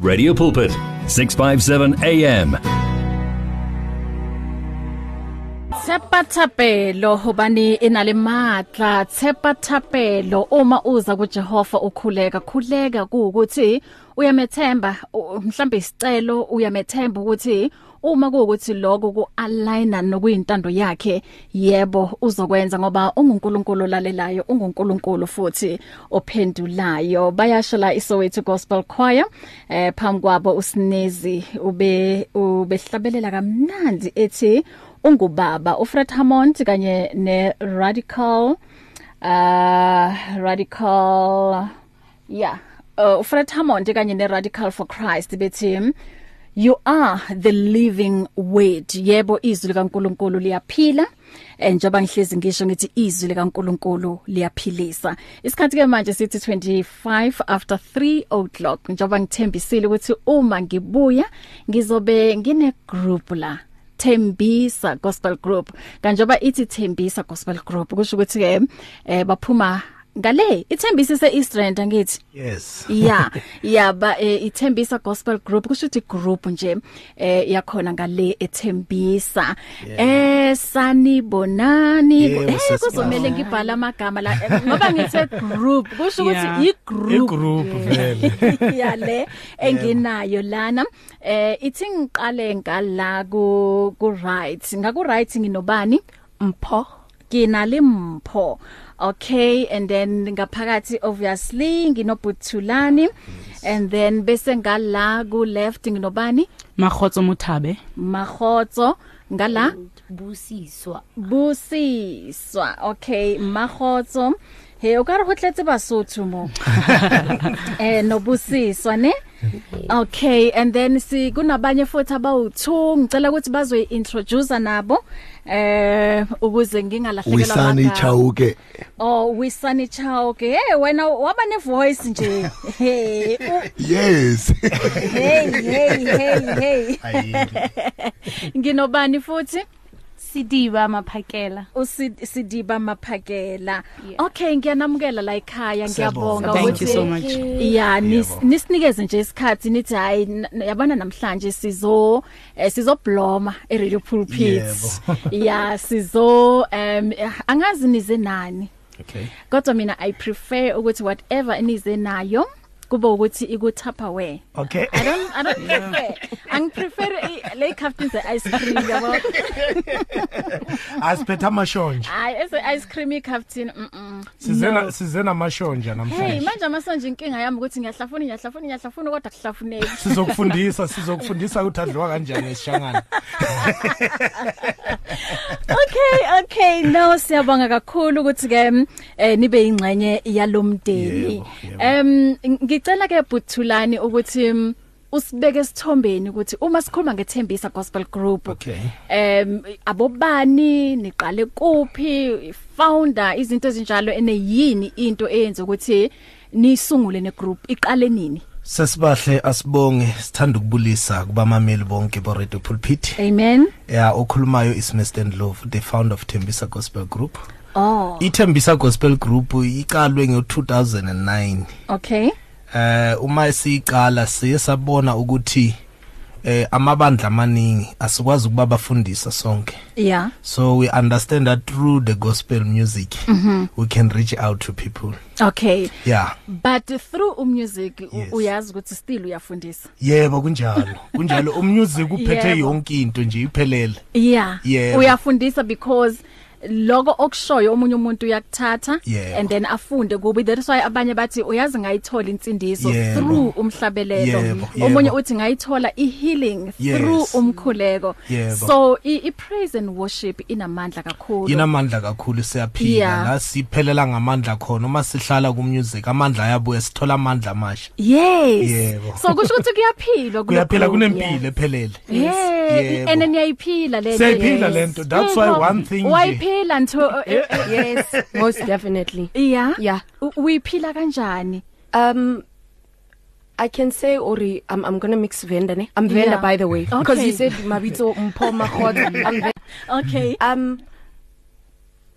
Radio Pulpit, 657 AM. Tshepa Thapelo hobane ena le matla Tshepa Thapelo uma uza kuJehova ukhuleka khuleka ukuthi uyamethemba u- mhlambe isicelo uyamethemba ukuthi uma kuwukuthi lokho kualigna nokuyintando yakhe yebo uzokwenza ngoba ungunkulunkulu lalelayo ungunkulunkulu futhi ophendulayo bayashala isowethu gospel choir eh phambi kwabo usinezi ube ubehlabelela kamnandi ethi ungubaba uFred Hammond kanye ne Radical uh Radical yeah uh, uFred Hammond kanye ne Radical for Christ bethi you are the living word yebo izwi likaNkuluNkulu liyaphila eh njengoba ngihlezi ngisho ngithi izwi likaNkuluNkulu liyaphilisa isikhathi ke manje sithi 25 after 3 o'clock njengoba ngithembisile ukuthi uma ngibuya ngizobe ngine group la Thembisa Gospel Group kanjoba ithi Thembisa Gospel Group kusho ukuthi ke eh baphuma ngale ithembisa se East Rand ngithi Yes. yeah yeah ba eh, ithembisa gospel group kusho ukuthi group nje eh yakhona ngale ethembisa eh sanibonani Yebo, eh sasibonga. kuzomela ngibhala amagama la eh, ngoba ngithe group kusho ukuthi i group Igroup vele. yale enginayo lana eh ithi ngiqale ngala ku ku right ngaku right nginobani mpho nginale mpho okay and then ngaphakathi obviously nginobuthulani and then bese ngala ku left nginobani magotso mothabe magotso ngala busiswa busiswa okay magotso he o ka re go tletse basotho mo eh no busiswa ne okay and then si kunabanye futhi abawu2 ngicela ukuthi bazoyi introduce nabo eh ukuze ngingalahlekelwa Wisani Chauke. oh wisani chauke hey wena waba ne voice nje hey u- Yes. hey hey hey hey nginobani futhi sidiba maphakela usidiba maphakela Yeah. okay ngiyanamukela la ekhaya Siyabonga. ngiyabonga thank you so much ya nis- nisinikeze nje isikhathi nithi hayi n- yabona namhlanje sizo eh, sizobloma e radio pulpit ya sizo um angazi nize nani Okay. kodwa mina i prefer ukuthi whatever enize nayo kube ukuthi ikuthapaware Okay. I don't I don't prefer ang prefer i- le captain the ice cream yabo Asiphetha amashonja. hayi ese eh, ice cream i captain mm Sizena sizena amashonja Hey namhlanje. manje amasonje inkinga yami ukuthi ngiyahlafuna ngiyahlafuna ngiyahlafuna kodwa kuhlafuneki. Sizokufundisa, sizokufundisa ukuthi adliwa kanjani esishangana. Okay okay no siyabonga kakhulu ukuthi ke eh, nibe ingxenye yalomdeni. Yebo, yebo. Em ngicela ke Buthulani ukuthi mm, usibeke esithombeni ukuthi uma sikhuluma ngethembisa gospel group Okay. em abobani niqale kuphi founder izinto ezinjalo ene yini into eyenza ukuthi nisungule ne group iqale nini Sesibahle asibonge sithanda ukubulisa kubamameli bonke bo Radio Pulpit. amen Ya okhulumayo is Mr Ndlovu, the founder of Thembisa Gospel Group. oh IThembisa Gospel Group iqalwe ngo2009. okay Eh uma siqala siye sabona ukuthi eh amabandla amaningi asikwazi ukuba bafundisa sonke. yeah So we understand that through the gospel music Mm-hmm. mm -hmm. we can reach out to people. okay Yeah. but through umusic u- Yes. uyazi ukuthi still uyafundisa Yebo kunjalo. Kunjalo umusic uphethe Yebo. yonke into nje iphelele. yeah Yebo. uyafundisa because loko okushoyo omunye umuntu uyakuthatha Yebo. and then afunde kubi that's why abanye bathi uyazi ngayithola insindiso Yebo. through umhlabelelo Yebo, yebo. omunye uthi ngayithola ihealing Yes. through umkhuleko Yebo. so i, i praise and worship inamandla kakhulu inamandla kakhulu Yeah. siyaphila la siphelela ngamandla khona uma sihlala kumusic amandla ayabuya sithola amandla amasha yes Yebo. so kusho ukuthi kuyaphilwa kulo kuyaphela group, kunempilo ephelele Yeah, Yebo. and niyayiphila lento. Siyayiphila yes. lento. That's why Yebo. one thing nje- Wayiphila nto yes most definitely yeah. Yeah. U- Uyiphila kanjani? um i can say ori i'm i'm going to mix venda ne i'm venda Yeah. yeah. by the way because Okay. you said mabitso mpho magotso i'm Venda. Okay. um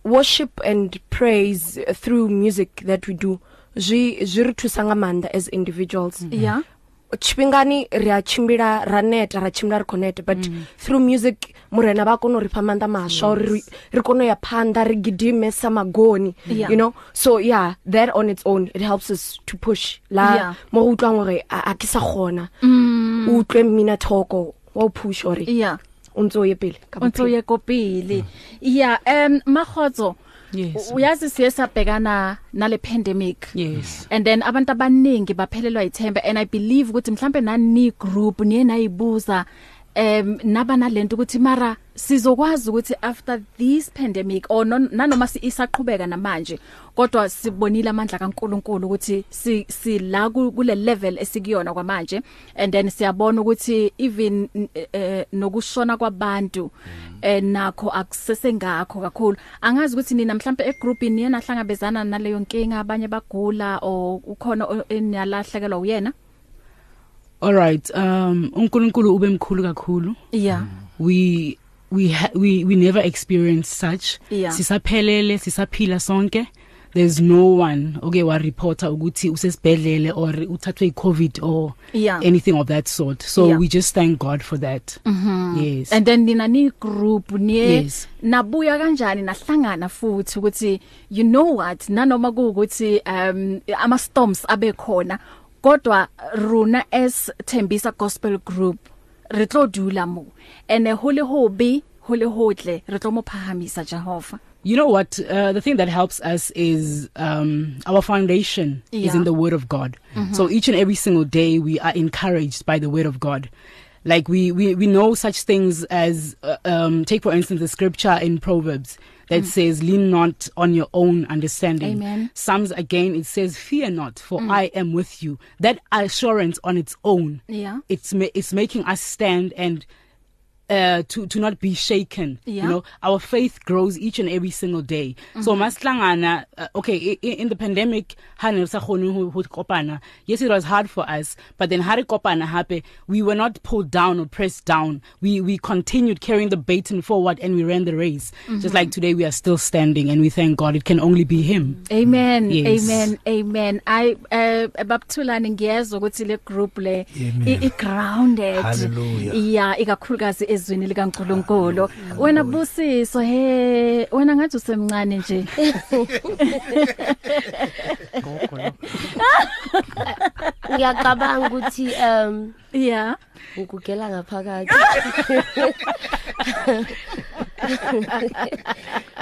worship and praise through music that we do zwi zwi re thusa nga manda as individuals Mm-hmm. Yeah. tshifhingani ri a tshimbila ra neta ra tshimbila ri khou neta but Mm. through music murena vha a kona u ri fha maanḓa maswa uri ri- ri kone u ya phanḓa ri gidime sa magoni Yeah. you know so yeah that on its own it helps us to push Yeah. Mm. la mo go utlwang gore a a ke sa gona Mm. o utlwe mmina thoko wa o push ore yeah o ntse o ye pele ka bophelo. unto yekopile yeah um makhotso Mm. Yes. uyazi siye sabhekana nale pandemic Yes. and then abantu abaningi baphelelwa ithemba and i believe ukuthi mhlambe nani group niye nayibuza em naba nalento ukuthi mara sizokwazi ukuthi after this pandemic or non- nanoma si- isaqhubeka namanje kodwa sibonile amandla kaNkuluNkulu ukuthi si sila ku- kule level esikuyona kwamanje and then siyabona ukuthi even n- eh, nokushona kwabantu eh nakho akusese ngakho kakhulu angazi ukuthi nina mhlambe egroupini yena hlangabezana naleyo nkinga abanye bagula or ukhona o- enalahlekelwa uyena All right. Um uNkulunkulu ube mkhulu kakhulu. yeah Mm. We we ha- we we never experienced such. Yeah. Sisaphelele, sisaphila sonke. There's no one okay wa reporter ukuthi usesibhedlele or uthathwe iCovid or Yeah. anything of that sort. So Yeah. we just thank God for that. Mm-hmm. Yes. and then nina ni group niye Yes. nabuya kanjani nahlangana futhi ukuthi you know what nanoma kuukuthi um ama storms abe khona kodwa runa as Thembisa Gospel Group re tlo dula mo and ho le hobe ho le hotle re tlo mo phahamisa Jehova You know what? Uh, the thing that helps us is um, our foundation Yeah. is in the Word of God. Mm-hmm. So each and every single day, we are encouraged by the Word of God. Like we we, we know such things as uh, um, take for instance the scripture in Proverbs that mm. says, "Lean not on your own understanding." Amen. Psalms again it says, "Fear not, for mm. I am with you." That assurance on its own, Yeah. it's ma- it's making us stand and uh to to not be shaken Yeah. you know our faith grows each and every single day mm-hmm. so maslangana uh, okay in, in the pandemic ha ne sa gone ho ho kopana yes it was hard for us but then ha re kopana hape we were not pulled down or pressed down we we continued carrying the baton forward and we ran the race mm-hmm. just like today we are still standing and we thank God it can only be him Amen yes. Yes. amen amen i eh babthulani ngiyezwa ukuthi le group le i i- grounded Hallelujah. yeah ikakhulukazi ezweni likaNkuluNkulu wena busiso he wena ngathi usemncane nje ngiyacabanga ukuthi um yeah ngugugela ngaphakathi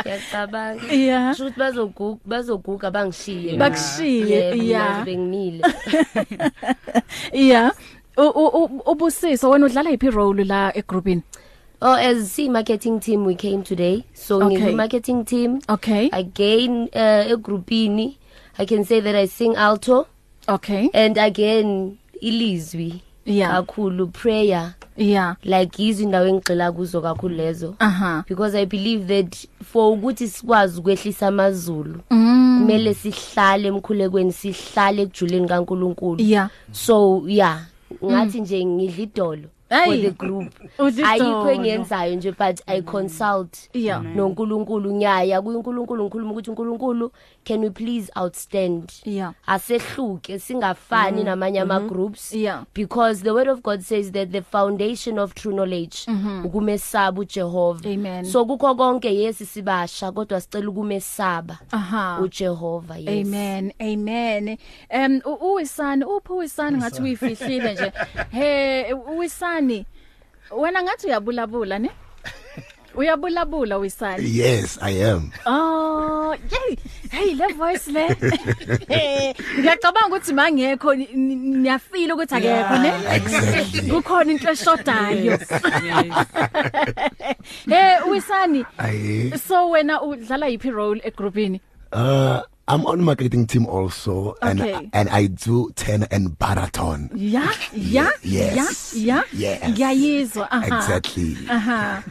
ngiyacabanga yeah shukuthi bazoguga bazoguga bangishiye Bakushiye, yeah. bengimile yeah U- u- u- ubusiso wena udlala iphi role la egroupini oh as C marketing team we came today so Okay. ngi marketing team okay again uh, egroupini i can say that i sing alto okay and again ilizwi Yeah. kakhulu prayer yeah like izwi indawo engigxila kuzo kakhulu lezo aha because i believe that for ukuthi sikwazi ukwehlisa amazulu Mm. kumele sihlale emkhulekweni sihlale ekujuleni kaNkuluNkulu yeah so yeah ngathi nje ngidla idolo for Mm. Hey. the group Udla idolo. ayikho engiyenzayo nje but i consult Yeah. noNkulunkulu nyaya kuNkulunkulu ngikhuluma ukuthi uNkulunkulu can we please outstand Yeah. Mm. Mm-hmm. asehluke singafani namanye ama groups Yeah. because the word of god says that the foundation of true knowledge ukumesaba uJehova Mm-hmm. Amen. so kukho konke yesi sibasha kodwa sicela ukumesaba aha uJehova Ah, yes Amen. Amen. Um u- uwisani uphi uwisani ngathi uyifihlile nje. He uwisani. Wena ngathi uyabulabula ne? Uyabulabula uwisani. Yes, I am. Oh, yey. Hey, le voice le. Ngiyacabanga ukuthi mangekho ni- ni- niyafila ukuthi akekho ne? Exactly. Kukhona into eshodayo. Hey, uwisani. I So wena udlala yipi role egroupini? uh I'm on marketing team also and Okay. and I do tenor and baraton. Ya, ya, Yes. ya, ya. Yes. Ngiyayizwa. Aha. Exactly. Aha.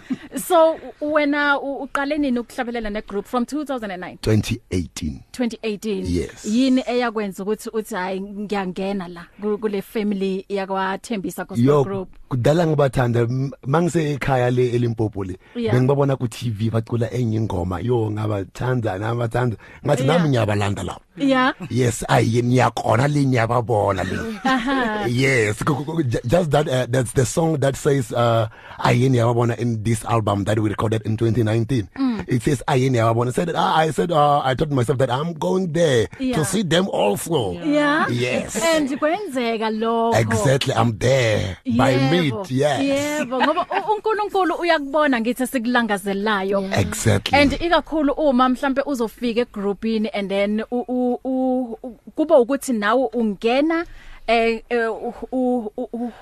so wena u- uqale nini ukuhlabelela ne group from 2009 2018 2018 Yes. yini eyakwenza ukuthi uthi hayi ngiyangena la ku- kule family yakwathembisa gospel yo group kudala ngibathanda m- mangise ekhaya le elimpopo le Yeah. bengibabona ku TV bacula enye ingoma yo ngabathanda nabathanda ngathi Yeah. nami ngiyabalanda lapho yeah yes ayi niyakona le niyababona le aha yes go- go- go- ju- just that uh, that's the song that says uh ayeni yababona in this album that we recorded in 2019 mm. it says ayeni yababona said uh, i said uh, i told myself that i'm going there yeah. Yeah. to see them also yeah Yes. and kwenzeka Oh. lokho exactly i'm there by Yebo. mid yes yebo ngoba u- uNkulunkulu uyakubona ngithi sikulangazelelayo Mm-hmm. exactly and ikakhulu uma mhlambe uzofika egroupini and then u- u- u- u- kuba ukuthi nawe ungena eh eh, u- u- u- u-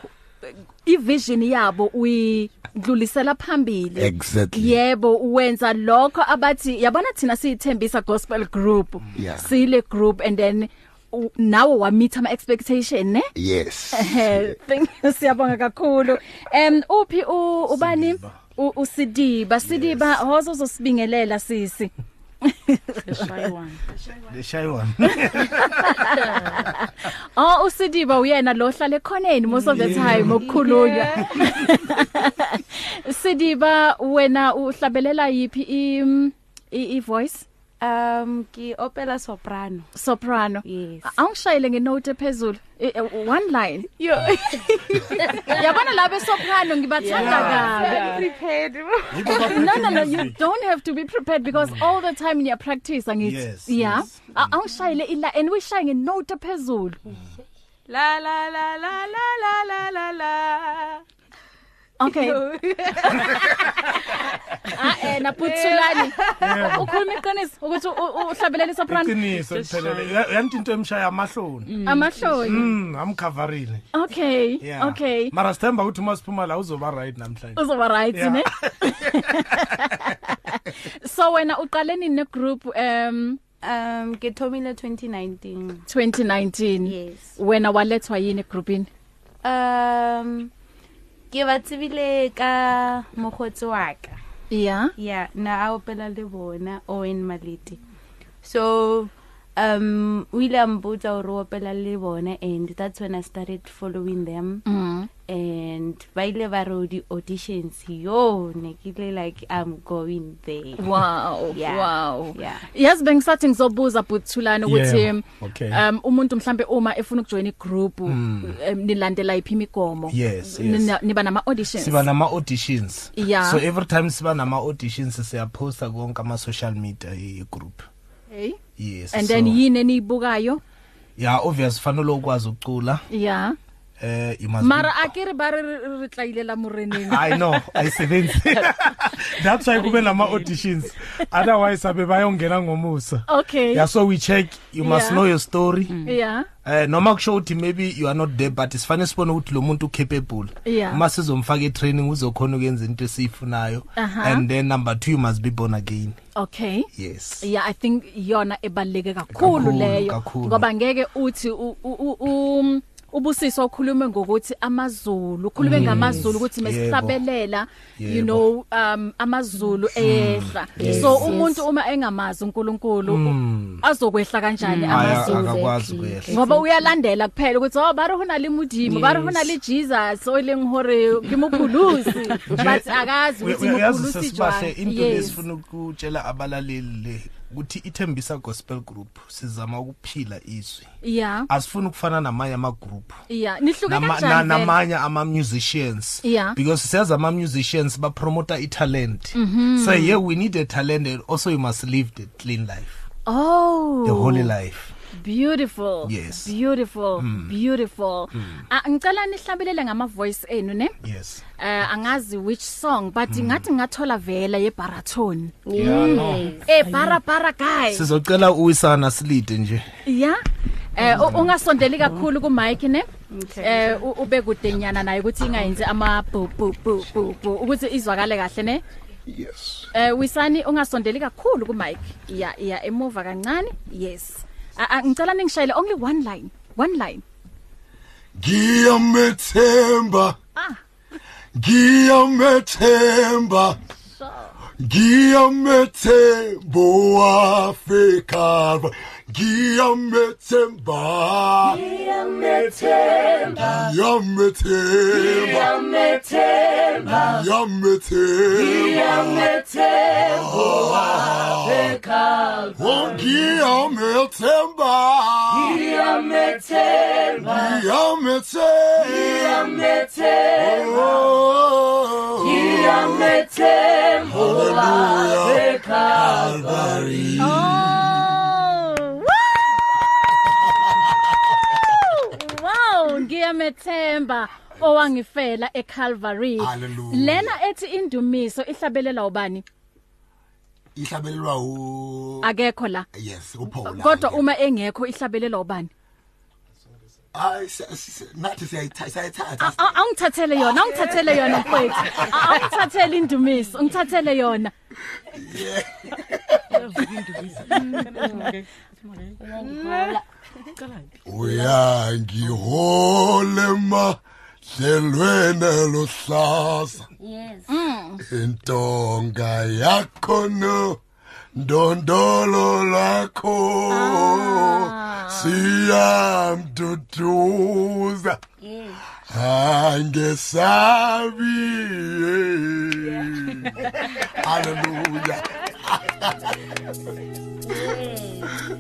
ivision yabo uyidlulisela phambili Exactly. yebo wenza lokho abathi yabona thina siyithembisa gospel group Yeah. sile group and then u- nawe wa meet ama expectation ne yes Eh, thank you siyabonga kakhulu. Em uphi u ubani U- usidiba sidiba hozo zosibingelela sisi. Shaiwan. leshayona Oh usidiba uyena lo hlale khoneni most of the time okukhulunywa. Sidiba wena uhlabelela yipi i i i voice Um ke opera soprano. soprano? Yes. Awungishayile ngenote phezulu Eh, eh, one line. Yo. Yabona labe soprano ngibathanda kabi. Prepared. no no no you don't have to be prepared because all the time in your practice ngithi Yes, yeah yes, awushayile ila and we shaye ngenote phezulu La la la la la la la la la. okay ah eh naputhulani ukhuluma iqiniso ukuthi u- u- uhlabelele soprano iqiniso liphelele Ya- yanti into emshaya amahloni amahloni mm amkhavarine okay yeah okay mara sithemba ukuthi uma siphuma la uzoba right namhlanje uzoba right Yeah. ne so wena uqale nini ne group um Um ke thomile 2019. 2019 Yes. wena walethwa yini groupini Um ke ba tsebile ka mogotsi wa ka. yeah yeah na a opela le bona owen malete so um o ile a mpotsa gore o opela le bona and that's when i started following them mm and ba ile ba re o di-auditions yo ne ke ile like i'm going there wow Yeah. wow Yeah. yazi bengisathi ngizobuza buthulana ukuthi Yeah, okay. Mm. um umuntu mhlambe uma efuna ukujoin igroup um, nilandela iphi imigomo Yes, yes. Nina- niba nama auditions siba nama auditions Yeah. so every time siba nama auditions siyaposta konke ama social media e group okay. yes and then so- yini eniyibukayo yeah obvious fanele ukwazi ukucula yeah eh you must be- mara akere ba re re re tlailela moreneng I know ayisebenzi that's why kube nama auditions otherwise abe bayongena ngomusa okay yeah so we check you must Yeah. Mm. know your story yeah eh noma kusho ukuthi maybe you are not there but sifane sibone ukuthi lo muntu capable Yeah. uma sizomfaka etraining uzokhona ukwenza into esiyifunayo Aha. and then number 2 you must be born again okay yes yeah i think yona ebaleke kakhulu Kakhulu, leyo kakhulu. ngoba ngeke uthi u- u- u- um, ubusiswa ukhulume ngokuthi amazulu ukhulume ngamazulu ukuthi yebo. mesihlabelela you Yebo. Hmm. know um amazulu eyehla so umuntu uma engamazi uNkulunkulu u- azokwehla kanjani Hmm. Mm. Aya- amazulu akakwazi kuyehla ngoba uyalandela kuphela ukuthi oh ba re hona le modimo ba re hona le Jesus o leng hore ke mokhulusi but akazi We- ukuthi we- yazi mokhulusi sesibahle into Yes. lesifuna ukutshela abalaleli le ukuthi ithembisa gospel group sizama ukuphila izwi yeah asifuni ukufana namanye ama group yeah nihluke Nama- kanjani na- vele? namanye ama-musicians Yeah. because siyazi ama-musicians bapromota italent mm Mm-hmm. -hmm. so yeah we need a talent and also you must live the clean life Oh. the holy life Beautiful. Yes. Beautiful. Mm. Beautiful. Mm. Ah ngicela nihlabelele ngama voice enu ne? yes Mm. Eh angazi which song but ngathi ngathola vela ye baraton. Yes. Eh para para guy. sizocela uwisana silide nje Yeah. Eh u- Mm. ungasondeli kakhulu ku mic ne? Eh u- ube kude nyana naye ukuthi ingayenzi ama bu bu bu bu bu ukuthi izwakale kahle ne? yes Eh Wisani ungasondeli kakhulu ku mic. Yeah yeah emuva kancane. Yes. Ah, ah, Ngicela ningishayele only one line. One line. ngiyamethemba Ah. ngiyamethemba ngiyamethembo afrika ngiyamethemba ngiyamethemba ngiyamethemba ngiyamethembo afrika ngiyamethemba ngiyamethemba ngiyamethemba oh, ngiyamethemba hallelujah calvary Wow, ngiyamethemba owangifela eCalvary. Hallelujah. Lena ethi indumiso ihlabelela ubani? ihlabelelwa u Akekho la. yes uPaul Kodwa uma engekho ihlabelela ubani? ay si- si- nathi siyayithatha A- siyayithatha a- Awungithathele yona, awungithathele yona mfethu. A- Awungithathele indumiso, ungithathele yona. Mm. uyangihole madlelwene lohlaza yes intonga yakho no ndondolo lwakho siyamduduza angesabi hallelujah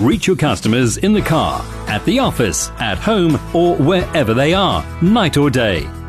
Reach your customers in the car, at the office, at home, or wherever they are, night or day.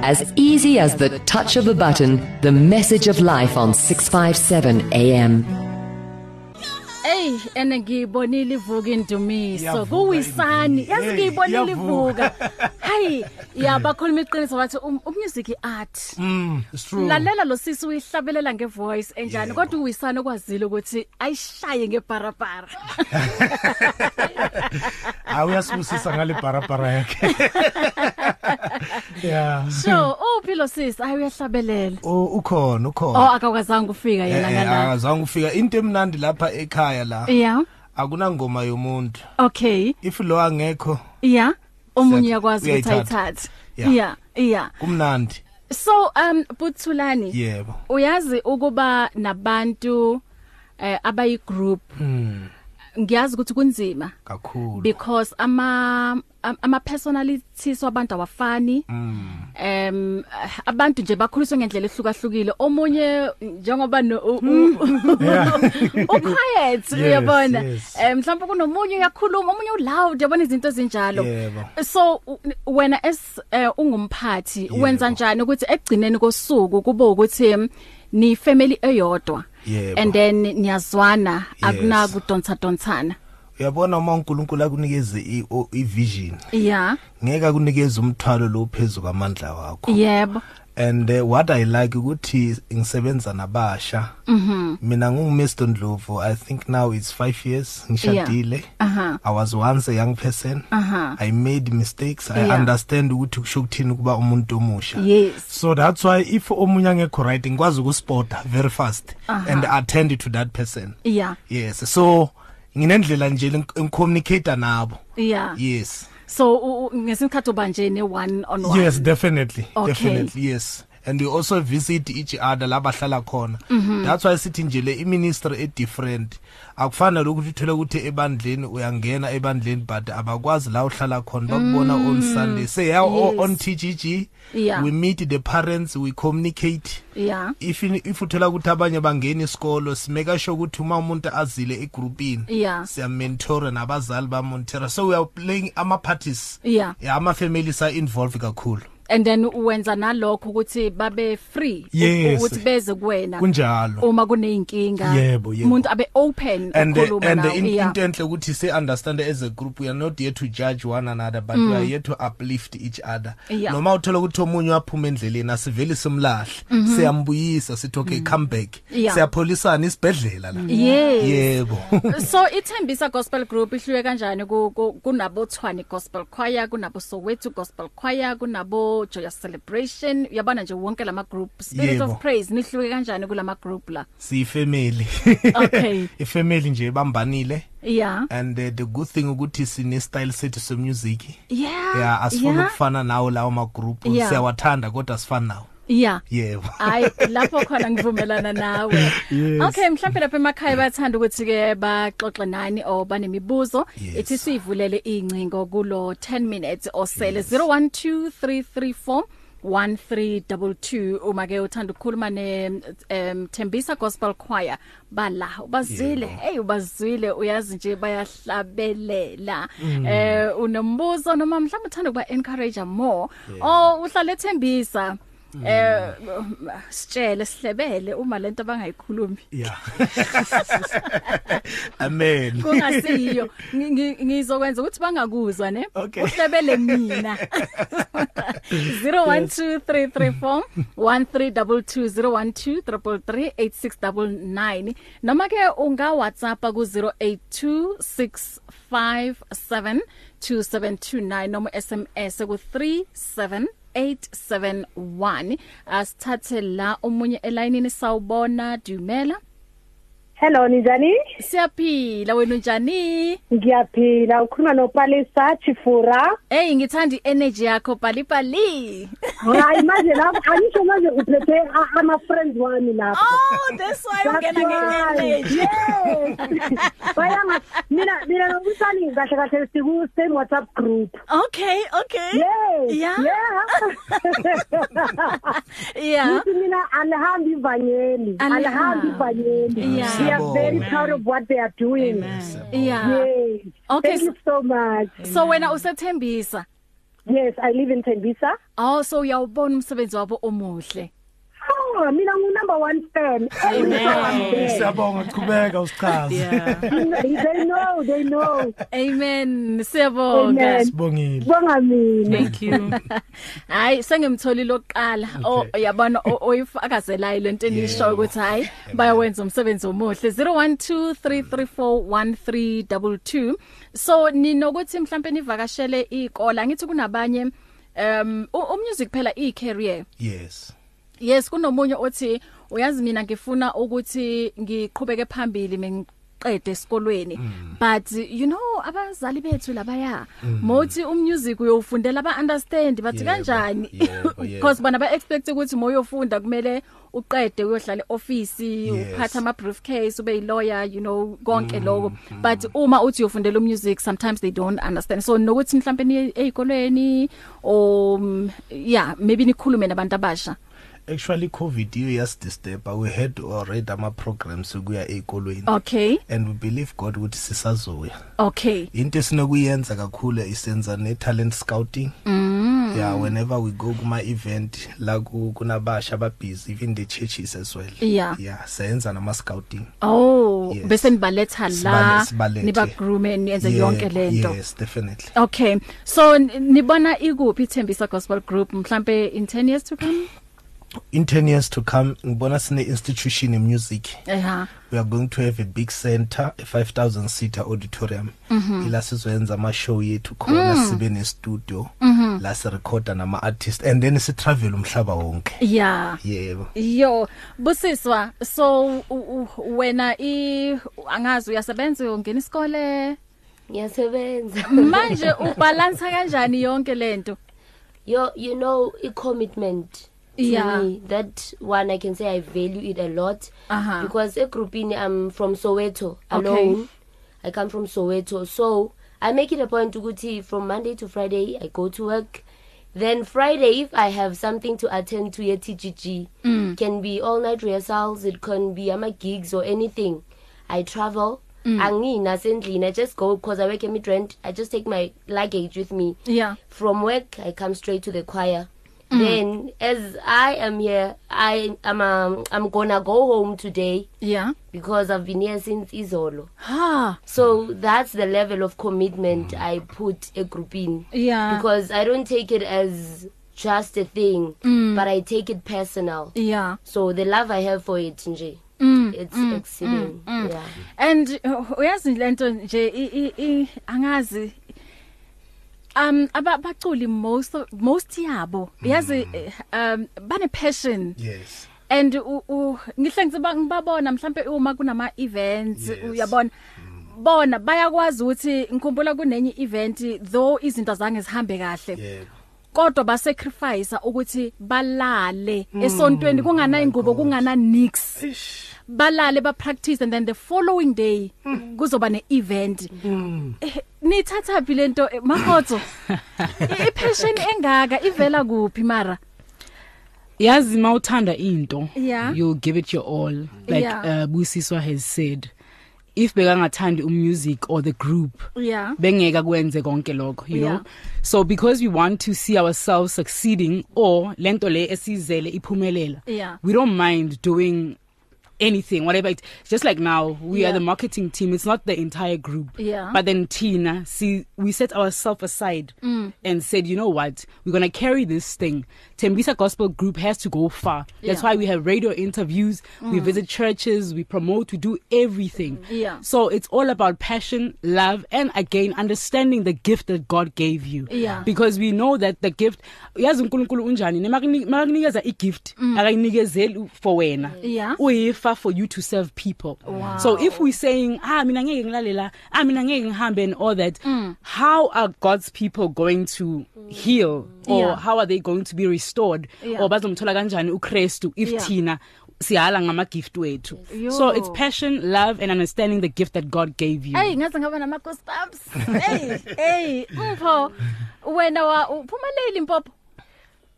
As easy as the touch of a button, the message of life on 657 AM. Ey, ene ngiyibonile ivuka indumiso. Iyavuka Kuwisani, Indumiso. yazi Hey, ngiyibonile iyavuka. ivuka. Hayi, yabakhuluma iqiniso bathi um- umusic art. Mm, It's true. lalela lo sisi uyihlabelela ngevoice enjani kodwa uwisana okwazile ukuthi ayishaye ngeparapara Hayi uyasibusisa ngale bharabhara yakhe. Yeah. so uphi lo sisi ayi uyahlabelela U- Oh, ukhona ukhona oh akakwazanga ufika yena Eh, eh, ngala akazange ufika into emnandi lapha ekhaya la yeah akunangoma yomuntu okay if lo angekho yeah omunye Siyatha- yakwazi ukuthi uyayithatha. ayithathe Yeah. yeah yeah kumnandi so um buthulani yebo uyazi ukuba nabantu eh, abayi group Mm, ngiyazi ukuthi kunzima kakhulu because ama am- ama personalities wabantu awafani Mm. em abantu nje bakhuliswa ngendlela ehlukahlukile omunye njengoba no u- Hmm. u- Oh, uquiet uyabona yes. Eh, mhlawumbe kunomunye uyakhuluma omunye uloud yabona izinto ezinjalo Yebo. so u- wena as eh, ungumphathi wenza njani ukuthi ekugcineni kosuku kube ukuthi mm, ni family eyodwa Yebo. and then niyazwana Yes. akuna kudonsa dontsana uyabona uma uNkulunkulu akunikeze i- o- ivision yeah ngeke akunikeze umthwalo lo phezulu kwamandla wakho yebo and uh, what i like ukuthi ngisebenza nabasha Mhm. mina ngingumr ndlovu i think now it's 5 years ngishadile Aha. i was once a young person Aha. i made mistakes i Uh-huh. Yeah. understand ukuthi kusho ukuthini ukuba umuntu omusha yes so that's why if omunye angekho right ngikwazi ukusporta very fast and attend to that person Uh-huh. yeah yes so nginendlela nje engicommunicate nabo yeah yes so u- u- ngesikhathi ubanjene one on one yes definitely Okay. definitely yes and we also visit each other la bahlala khona Mhm. that's why sithi nje le iministry e different akufanele ukuthi uthole ukuthi ebandleni uyangena ebandleni but abakwazi la uhlala khona bakubona on Mm. Sunday say yeah, Yes. o- on TGG Yeah. we meet the parents we communicate yeah if if uthola ukuthi abanye bangena isikolo simeka sure ukuthi uma umuntu azile egroupini Yeah. siyamentora nabazali bamontora so we are playing ama-parties Yeah. yeah, ama-families are involved kakhulu and then wenza nalokho ukuthi babe free u- Yes. ukuthi beze kuwena Kunjalo. uma kuneyinkinga Yebo, yebo. umuntu abe open and the, ukukhuluma and the nawe. in, Yeah. into enhle ukuthi si-understande as a group we are not here to judge one another but Mm. we are here to uplift each other Yeah. noma uthola ukuthi omunye waphuma endleleni asivele simlahle Mhm. Mm. siyambuyisa sithi okay come back Yeah. siyapholisana isibhedlela la Yes. yebo so ithembisa gospel group ihluke kanjani ku- ku- kunabo Tshwane gospel choir kunabo Soweto gospel choir kunabo Joyous celebration yabana nje wonke lama group spirit of Yebo. praise nihluke kanjani kulama group la siyifamily Okay. ifamily nje ebambanile yeah and uh, the good thing ukuthi sine-style sethu semusic yeah ya asifuna yeah. ukufana nawo lawo magrupu Yeah. siyawathanda kodwa asifani nawo yeah yebo hayi lapho khona ngivumelana nawe Yes. okay mhlawumbe lapha emakhaya bayathanda ukuthi ke baxoxe nani or banemibuzo ethi sivulele incingo kulo 10 minutes osele 012334 1322 uma ke uthanda ukukhuluma ne um, Thembisa Gospel Choir bala ubazile hey ubazwile uyazi nje bayahlabelela Mm. eh unombuzo noma mhlawumbe uthanda ukuba encourage more oh uhlale Thembisa eh sitshele sihlebele uma lento bangayikhulumi ya amen kungasiyo Ngi- ngi- ngizokwenza ukuthi bangakuzwa ne uhlebele mina 012334 13220123338699 noma ke unga WhatsApp ku 0826572729 noma SMS ku 37 871 asithathe Ah, la omunye elayinini sawubona Dumela Hello ninjani? Siyaphila wena unjani? Ngiyaphila ukhuluma nopalisa Chifura. Hey ngithanda energy yakho palipali. Hayi manje lapho angisho manje uphethe a- ama friends wami lapho. Oh that's why ungena nge-energy. Bayanga mina mina nokusani kahle kahle siku same WhatsApp group. Okay, okay. Yes. Yeah. Yeah. Yeah. Ah. Ngithi mina alihambi ivanyeli. Alihambi ivanyeli. Yeah. We are very proud of what they are doing. Yeah. Yes. Okay, Thank you so much. So wena usethembisa? Yes, I live in Thembisa. Oh so uyawubona umsebenzi wabo omuhle. Oh, mina ngu number 1 fan. siyabonga chubeka usichaze they know, they know. Amen. Siyabonga. sibongile Bonga mina. Thank you. Hayi sengimtholile oqala o yabona o- oyifakazelayo lento enisho ukuthi hayi bayawenza umsebenzi omuhle 0123341322 so ninokuthi mhlambe nivakashele ikola ngithi kunabanye um u- umusic phela i career yes yes kunomunye othi uyazi mina ngifuna ukuthi ngiqhubeke phambili mengiqede esikolweni but you know abazali bethu labaya Mm. mothi umusic uyofundela ba understand bathi Yebo, kanjani yebo, yebo. because bona ba expect ukuthi moyofunda kumele uqede uyohlala office Yes. Mm, uphatha ama briefcase ube lawyer you know konke lokho but uma uthi uyofundela umusic sometimes they don't understand so nokuthi mhlambe ni ezikolweni or mm, yeah maybe nikhulume nabantu abasha actually covid iyo yasidisturba we had already ama-programs ukuya ey'kolweni Okay. and we believe god ukuthi sisazoya Okay. into esinokuyenza kakhulu isenza ne-talent scouting Mm. yeah whenever we go kuma-event la ku- kunabasha ababhizi even the churches as well Yeah. yeah siyenza nama-scouting Oh, Yes. bese nibaletha la Sibale- sibalethe. niba groome niyenze Yeah, yonke lento. yes definitely Okay. So n- nibona ikuphi Thembisa Gospel Group mhlambe in 10 years to come? in 10 years to come ngibona sine institution in music Eha. we are going to have a big center a 5000 seater auditorium Mhm. ila sizoyenza ama show yethu khona Mm. sibe ne studio Mhm. la si recorda nama artist and then si travel umhlaba wonke Yeah. yebo Yo, busiswa. So u- u- wena i angazi uyasebenza uyongena isikole? Ngiyasebenza. Manje ubalansa kanjani yonke lento? Yo you know i commitment Yeah. to me that one i can say i value it a lot Uh-huh. because egroupini i'm from soweto Okay. alone i come from soweto so i make it a point to go to from monday to friday i go to work then friday if i have something to attend to at tgg Mm. can be all night rehearsals it can be ama gigs or anything i travel Mm. anginasendlini i just go because i work at midrand i just take my luggage with me Yeah. from work i come straight to the choir Mm. then as i am here i am um, i'm gonna go home today yeah because i've been here since izolo ha so that's the level of commitment i put a group in Yeah. because i don't take it as just a thing Mm. but i take it personal Yeah. so the love i have for it nje Mm, it's mm, exceeding mm, mm. yeah and uh, uyazi lento nje i- i- i- angazi um abaculi most of- most yabo yazi eh, um bane passion Yes. and u- u- ngihle ngiba- ngibabona mhlambe uma kunama events uyabona bona bayakwazi ukuthi ngikhumbula kunenye event though izinto zange zihambe kahle kodwa basacrifice ukuthi balale Mm. esontweni kungana ingubo kungana nix balale ba practice and then the following day kuzoba Eh, ne event nithatha phi lento eh, mahotso i passion engaka ivela kuphi mara yazi mawuthanda into Yeah. you'll give it your all like Yeah. uh, busiswa has said if bekangathandi umusic or the group yeah bengeka kwenze konke lokho you Uh-huh. Yeah. know so because we want to see ourselves succeeding or lento le esizele iphumelela Yeah. we don't mind doing anything whatever it just like now we Yeah. are the marketing team it's not the entire group Yeah. but then Tina see we set ourselves aside Mm. and said you know what we're going to carry this thing Tembisa gospel group has to go far that's Yeah. why we have radio interviews we Mm. visit churches we promote we do everything Yeah. so it's all about passion, love, and again, understanding the gift that God gave you. Yeah. Because we know that the gift, yazi uNkulunkulu unjani, ne makuni- makunikeza i-gift, akayinikezeli for wena. Mm. Yeah. Uyifa for you to serve people. Wow. So if we're saying, ah, mina ngeke ngilalela, ah, mina ngeke ngihambe and all that, Mm. how are God's people going to heal or Yeah. how are they going to be restored Yeah. or bazomthola kanjani uKristu if Yeah. thina sihala ngama gift wethu. Yo. So it's passion, love, and understanding the gift that God gave you. hey ngaze ngaba nama ghost ups hey hey mpho wena wa uphumeleli mpopo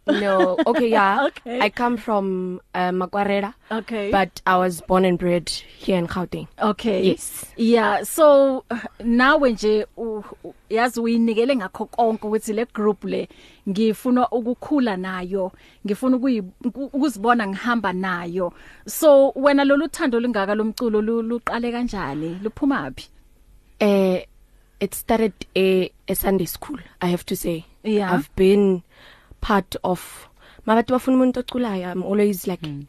No, okay, yeah. Okay. I come from uh, Makwarera. Okay. But I was born and bred here in Gauteng. Okay. Yes. Yeah, so uh, nawe nje u- u- yazi uyinikele ngakho konke ukuthi le group le ngifuna ukukhula nayo, ngifuna ukuyi- uku- ukuzibona ngihamba nayo. So wena lo luthando lingaka lomculo lu- luqale kanjani? Luphuma phi? Uh, it started a, a Sunday school, I have to say. Yeah. I've been part of Mabathu bafuna umuntu oculayo. I'm always like Hmm.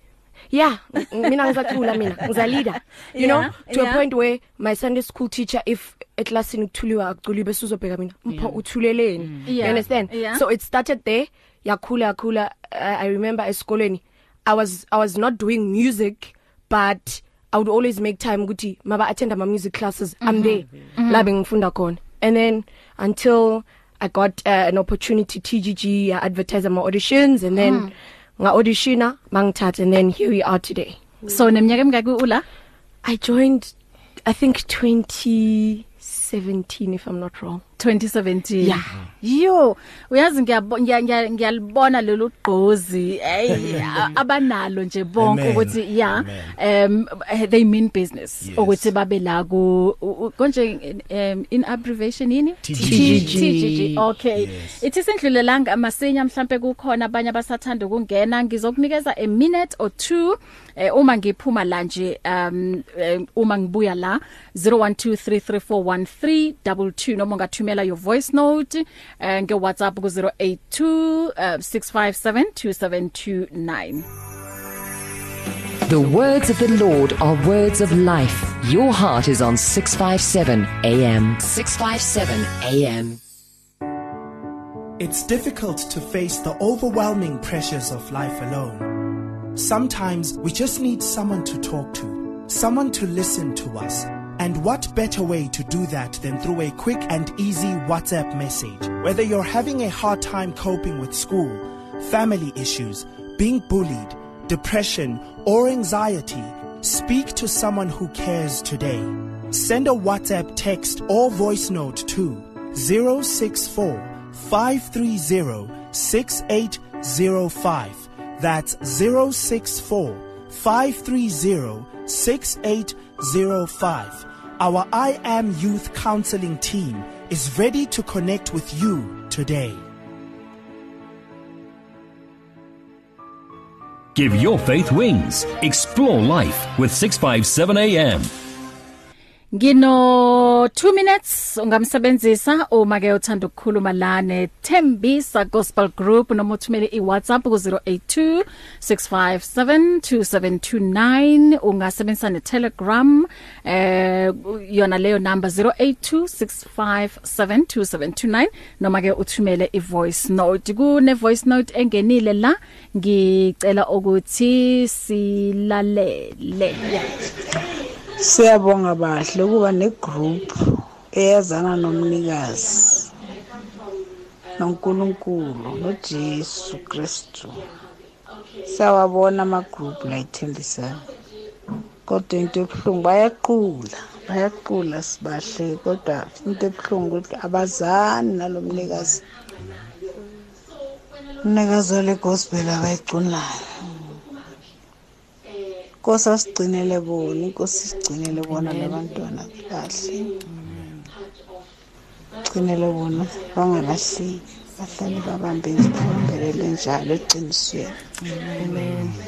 Yeah, ng- mina ngizacula mina, ngiza leader. You know, Yeah, to a yeah. point where my Sunday school teacher if eklasini kuthuliwa akuculi bese uzobheka mina, mpho uthuleleni. You Hmm. Yeah, understand? yeah. So it started there. Yakhula yakhula. Uh, I remember esikoleni I was I was not doing music but I would always make time ukuthi maba attend my music classes. I'm Mm-hmm. Mhm. there. Mhm. La bengifunda khona. And then until I got uh, an opportunity TGG I advertise uh, my auditions and then Mm. nga auditiona mangithatha and then here we are today. So neminyaka emingaki ula? I joined I think 2017 if I'm not wrong. 2017 Yeah. yo uyazi ngiyabo- ngiya- ngiya- ngiyalibona lelo gqozi hey a- abanalo nje bonke Amen. ukuthi yeah um eh, they mean business Yes. ukuthi babe la ku u- u- konje um in abbreviation yini TGG. TGG okay ithi sendlulelanga amasinya mhlambe kukhona abanye abasathanda ukungena ngizokunikeza a minute or two eh, uma ngiphuma la nje um eh, uma ngibuya la 0123341322 noma ungathumela your voice note eh, nge WhatsApp ku 082 eh, 6572729 The words of the Lord are words of life. Your heart is on 657 AM. 657 AM. It's difficult to face the overwhelming pressures of life alone. Sometimes we just need someone to talk to, someone to listen to us. And what better way to do that than through a quick and easy WhatsApp message? Whether you're having a hard time coping with school, family issues, being bullied, depression, or anxiety, speak to someone who cares today. Send a WhatsApp text or voice note to 064 530 6805. That's 064 530 6805. Our I Am Youth Counseling team is ready to connect with you today. Give your faith wings. Explore life with 657 AM. Ngino 2 minutes ungamsebenzisa uma ke uthanda ukukhuluma la ne Thembisa Gospel Group noma uthumele iWhatsApp ku 082 6572729 ungasebenzisa ne Telegram eh yona leyo number 0826572729 noma ke uthumele ivoice note kune voice note engenile la ngicela ukuthi silalele yeah siyabonga bahle ukuba negroup eyazana nomnikazi noNkulunkulu noJesu Kristu sawabona ama-group la ithembisana kodwa into ebuhlungu bayaqula bayaqula sibahle kodwa into ebuhlungu ukuthi abazani nalo mnikazi umnikazi wale gospel abayigcunayo inkosi asigcinele bona inkosi isigcinele bona labantwana kahle gcinele bona bangalahleki bahlale babambe babambelele njalo eqinisweni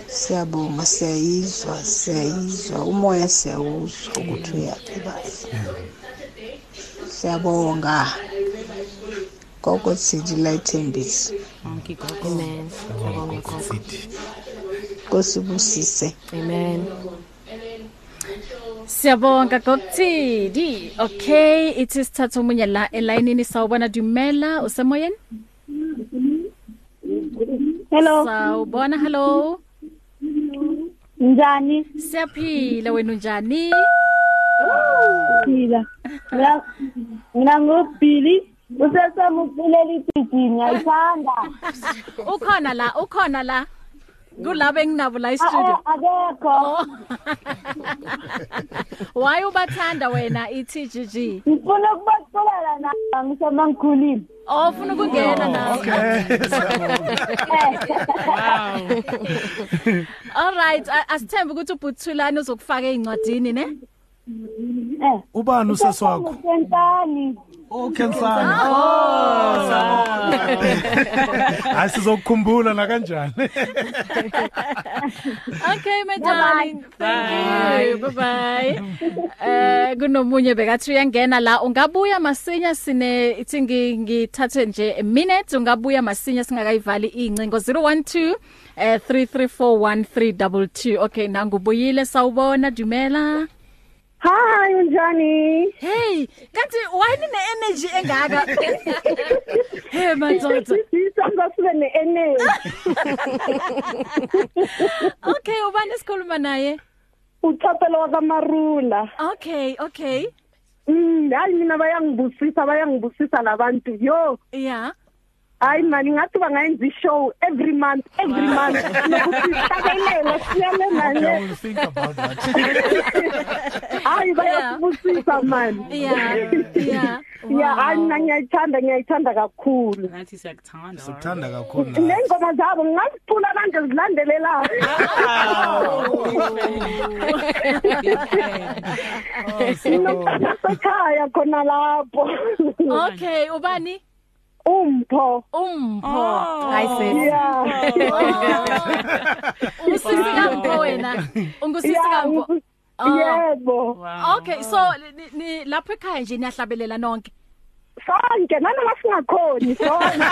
siyabonga siyayizwa siyayizwa umoya siyawuzwa ukuthi uyaphi bahle siyabonga gogo city layithembisa Amen. nkosi busise Amen. Siyabonga Gokuthidi. Okay, it is thatha umunye la elayinini sawubona Dumela usemoyeni? Hello. Sawubona hello. Njani? Siyaphila wena unjani? Phila. Mina- Mina ngubhili usesemuphilela igiginya ithanda. Ukhona la, ukhona la. Kulabo enginabo la e-studio. Oh. Akekho. Why ubathanda wena iTGG? Ngifuna ukubaculela na ngisema ngikhulile. Oh, ufuna ukungena nawe. All right, a- asithembe ukuthi uButhulani uzokufaka eincwadini ne? Eh. Ubani usesi wakho? Kentani? Oh, Kensana. Oh, Hayi sizokukhumbula na kanjani. Okay, my darling. Thank you. Bye bye. Eh kunomunye bekathi uyangena la ungabuya masinya sine ithi ngi- ngithathe nje a minute ungabuya masinya singakayivali incingo 012 eh 334132. Okay, nangu buyile sawubona Dumela. Hi, unjani? Hey, kanti wayini ne energy engaka? Hey, madodana. Sisangafuna ne-energy. Okay, ubani esikhuluma naye? Uchaphela wakamarula. Okay, okay. Mm, hayi mina bayangibusisa bayangibusisa labantu. Yo. Yeah. Hayi mani ngathi bangayenza i-show every month every month. Nokuthi sakelela siyale manje. Think about that. Hayi bayasibusisa man. Yeah. Yeah. Yeah, hayi mina ngiyayithanda ngiyayithanda kakhulu. Ngathi siyakuthanda. Sithanda kakhulu na. Nengoma zabo ngingazicula manje zilandelelana. Inokuqhasekhaya khona lapho. Okay, ubani? Umpho. Oh. Umpho. Hayi Yeah. Usisi kampo wena. Oh. Ungusisi Yeah, kampo. ngu- Yebo. Okay, so ni- ni lapho ekhaya nje niyahlabelela nonke. Sonke nanoma singakhoni sonke.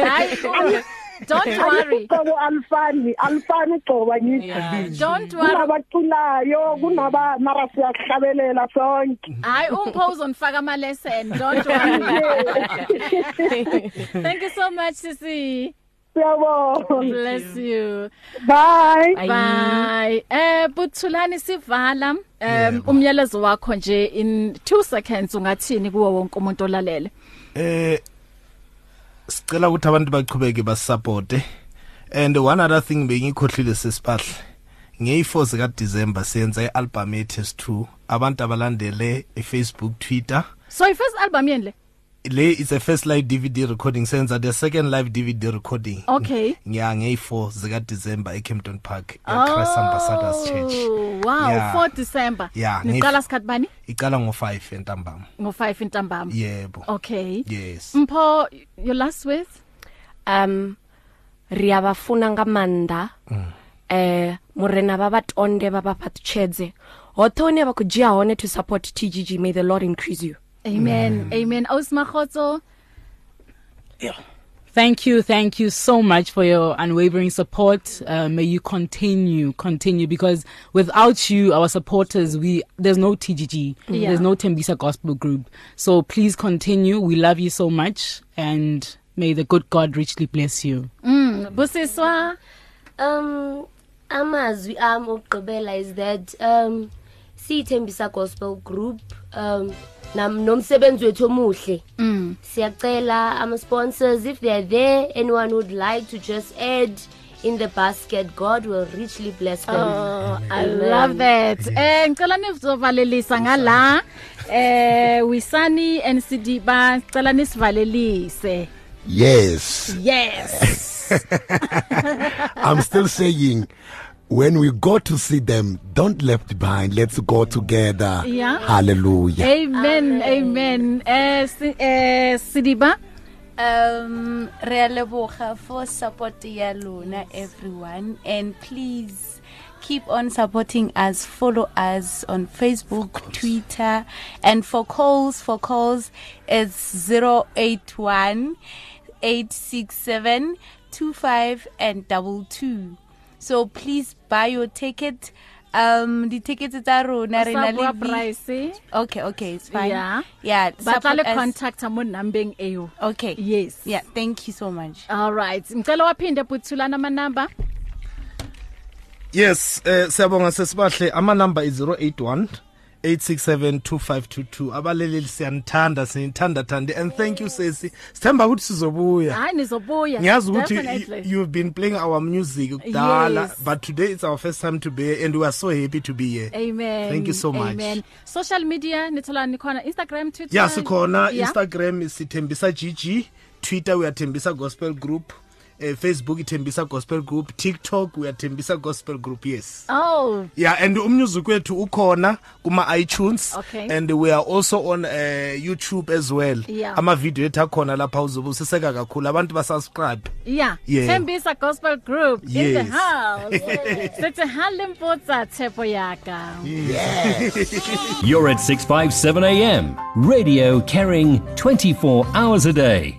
Hayi. oh, Don't worry. Uqobo alifani, alifani ugcoba ngithi. Don't worry. Kunabaculayo, kunaba mara siyahlabelela sonke. Hayi umpho uzonifaka ama lesson. Don't worry. Thank you so much sisi. Siyabonga. Bless you. Bye. Bye. Eh buthulani sivala um umyalezo wakho nje in 2 seconds ungathini kuwo wonke umuntu olalele. eh sicela ukuthi abantu baqhubeke basupporte and one other thing bengikhohlile sesibahle ngeyi4 zika December siyenza ialbum etes 2 abantu abalandele eFacebook Twitter So your first album yini le? le is a first live DVD recording senza the second live DVD recording Okay. nya ngeyi4 zika December eCampton Park eChrist Ambassadors Church Oh, Wow, Yeah. 4 December. Yeah, ngi- Niqala sikhathi bani? iqala ngo5 entambama Ngo5 intambama. yebo Okay. yes Mpho your last words? um ri avafuna nga maanḓa eh murena vha vhatonde vha vha phaṱutshedze hoṱhe hune vha khou dzhia hone to support tgg may the lord increase you Amen. Amen. Ausmachotso. Thank you, thank you so much for your unwavering support. Uh, may you continue, continue, because without you, our supporters, we there's no TGG, Yeah. there's no Tembisa Gospel Group. So please continue. We love you so much, and may the good God richly bless you. Mm, busiswa. Um amazwi ami okugqibela is that um siyithembisa gospel group um nam nomsebenzi wethu omuhle. Mm. Siyacela ama sponsors if they are there anyone would like to just add in the basket God will richly bless them. Oh, I love that. Eh ngicela nizovalelisa ngala. Eh Wisani NCD ba ngicela nisivalelise. Yes. Yes. I'm still saying, when we go to see them, don't left behind. Let's go together. Yeah. Hallelujah. Amen. Amen. Eh si- eh Sidiba. um re a leboga for support ya lona everyone and please keep on supporting us follow us on facebook twitter and for calls for calls it's 081 867 25 and double two so please buy your ticket um di-tickets tsa rona re na Sa bua le week- price. okay okay it's fine Yeah. yeah Batsale support us. contact mo numbering eyo. okay Yes. yeah thank you so much All right. Ngicela waphinde buthulana ama number. Yes, eh siyabonga sesibahle ama number is 081 8672522 abaleleli siyanithanda sinithanda thandi and thank you sesi sithemba ukuthi sizobuya Hayi nizobuya. ngiyazi ukuthi Ah, Definitely. you- you've been playing our music kudala Yes. but today it's our first time to be here and we are so happy to be here Amen. thank you so much Amen. Social media nithola nikhona Instagram, Twitter. yeah sikhona Yeah. instagram sithembisa gg twitter uyathembisa gospel group eh, facebook ithembisa gospel group tiktok uyathembisa gospel group yes Oh. yeah and umnyuzik wethu ukhona kuma-itunes Okay. and we are also on uh, youtube as well Yeah. amavidiyo ethu akhona lapha uzobusiseka kakhulu abantu basubscribe Yeah. Yeah. Thembisa Gospel Group in the Yes. house. Sithi halimpotsa thepo yaka. You're at 657 AM, radio carrying 24 hours a day.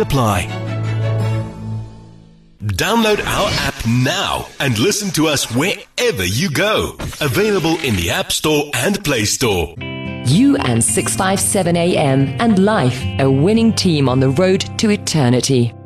apply. Download our app now and listen to us wherever you go. Available in the App Store and Play Store. You and 657 AM and life, a winning team on the road to eternity.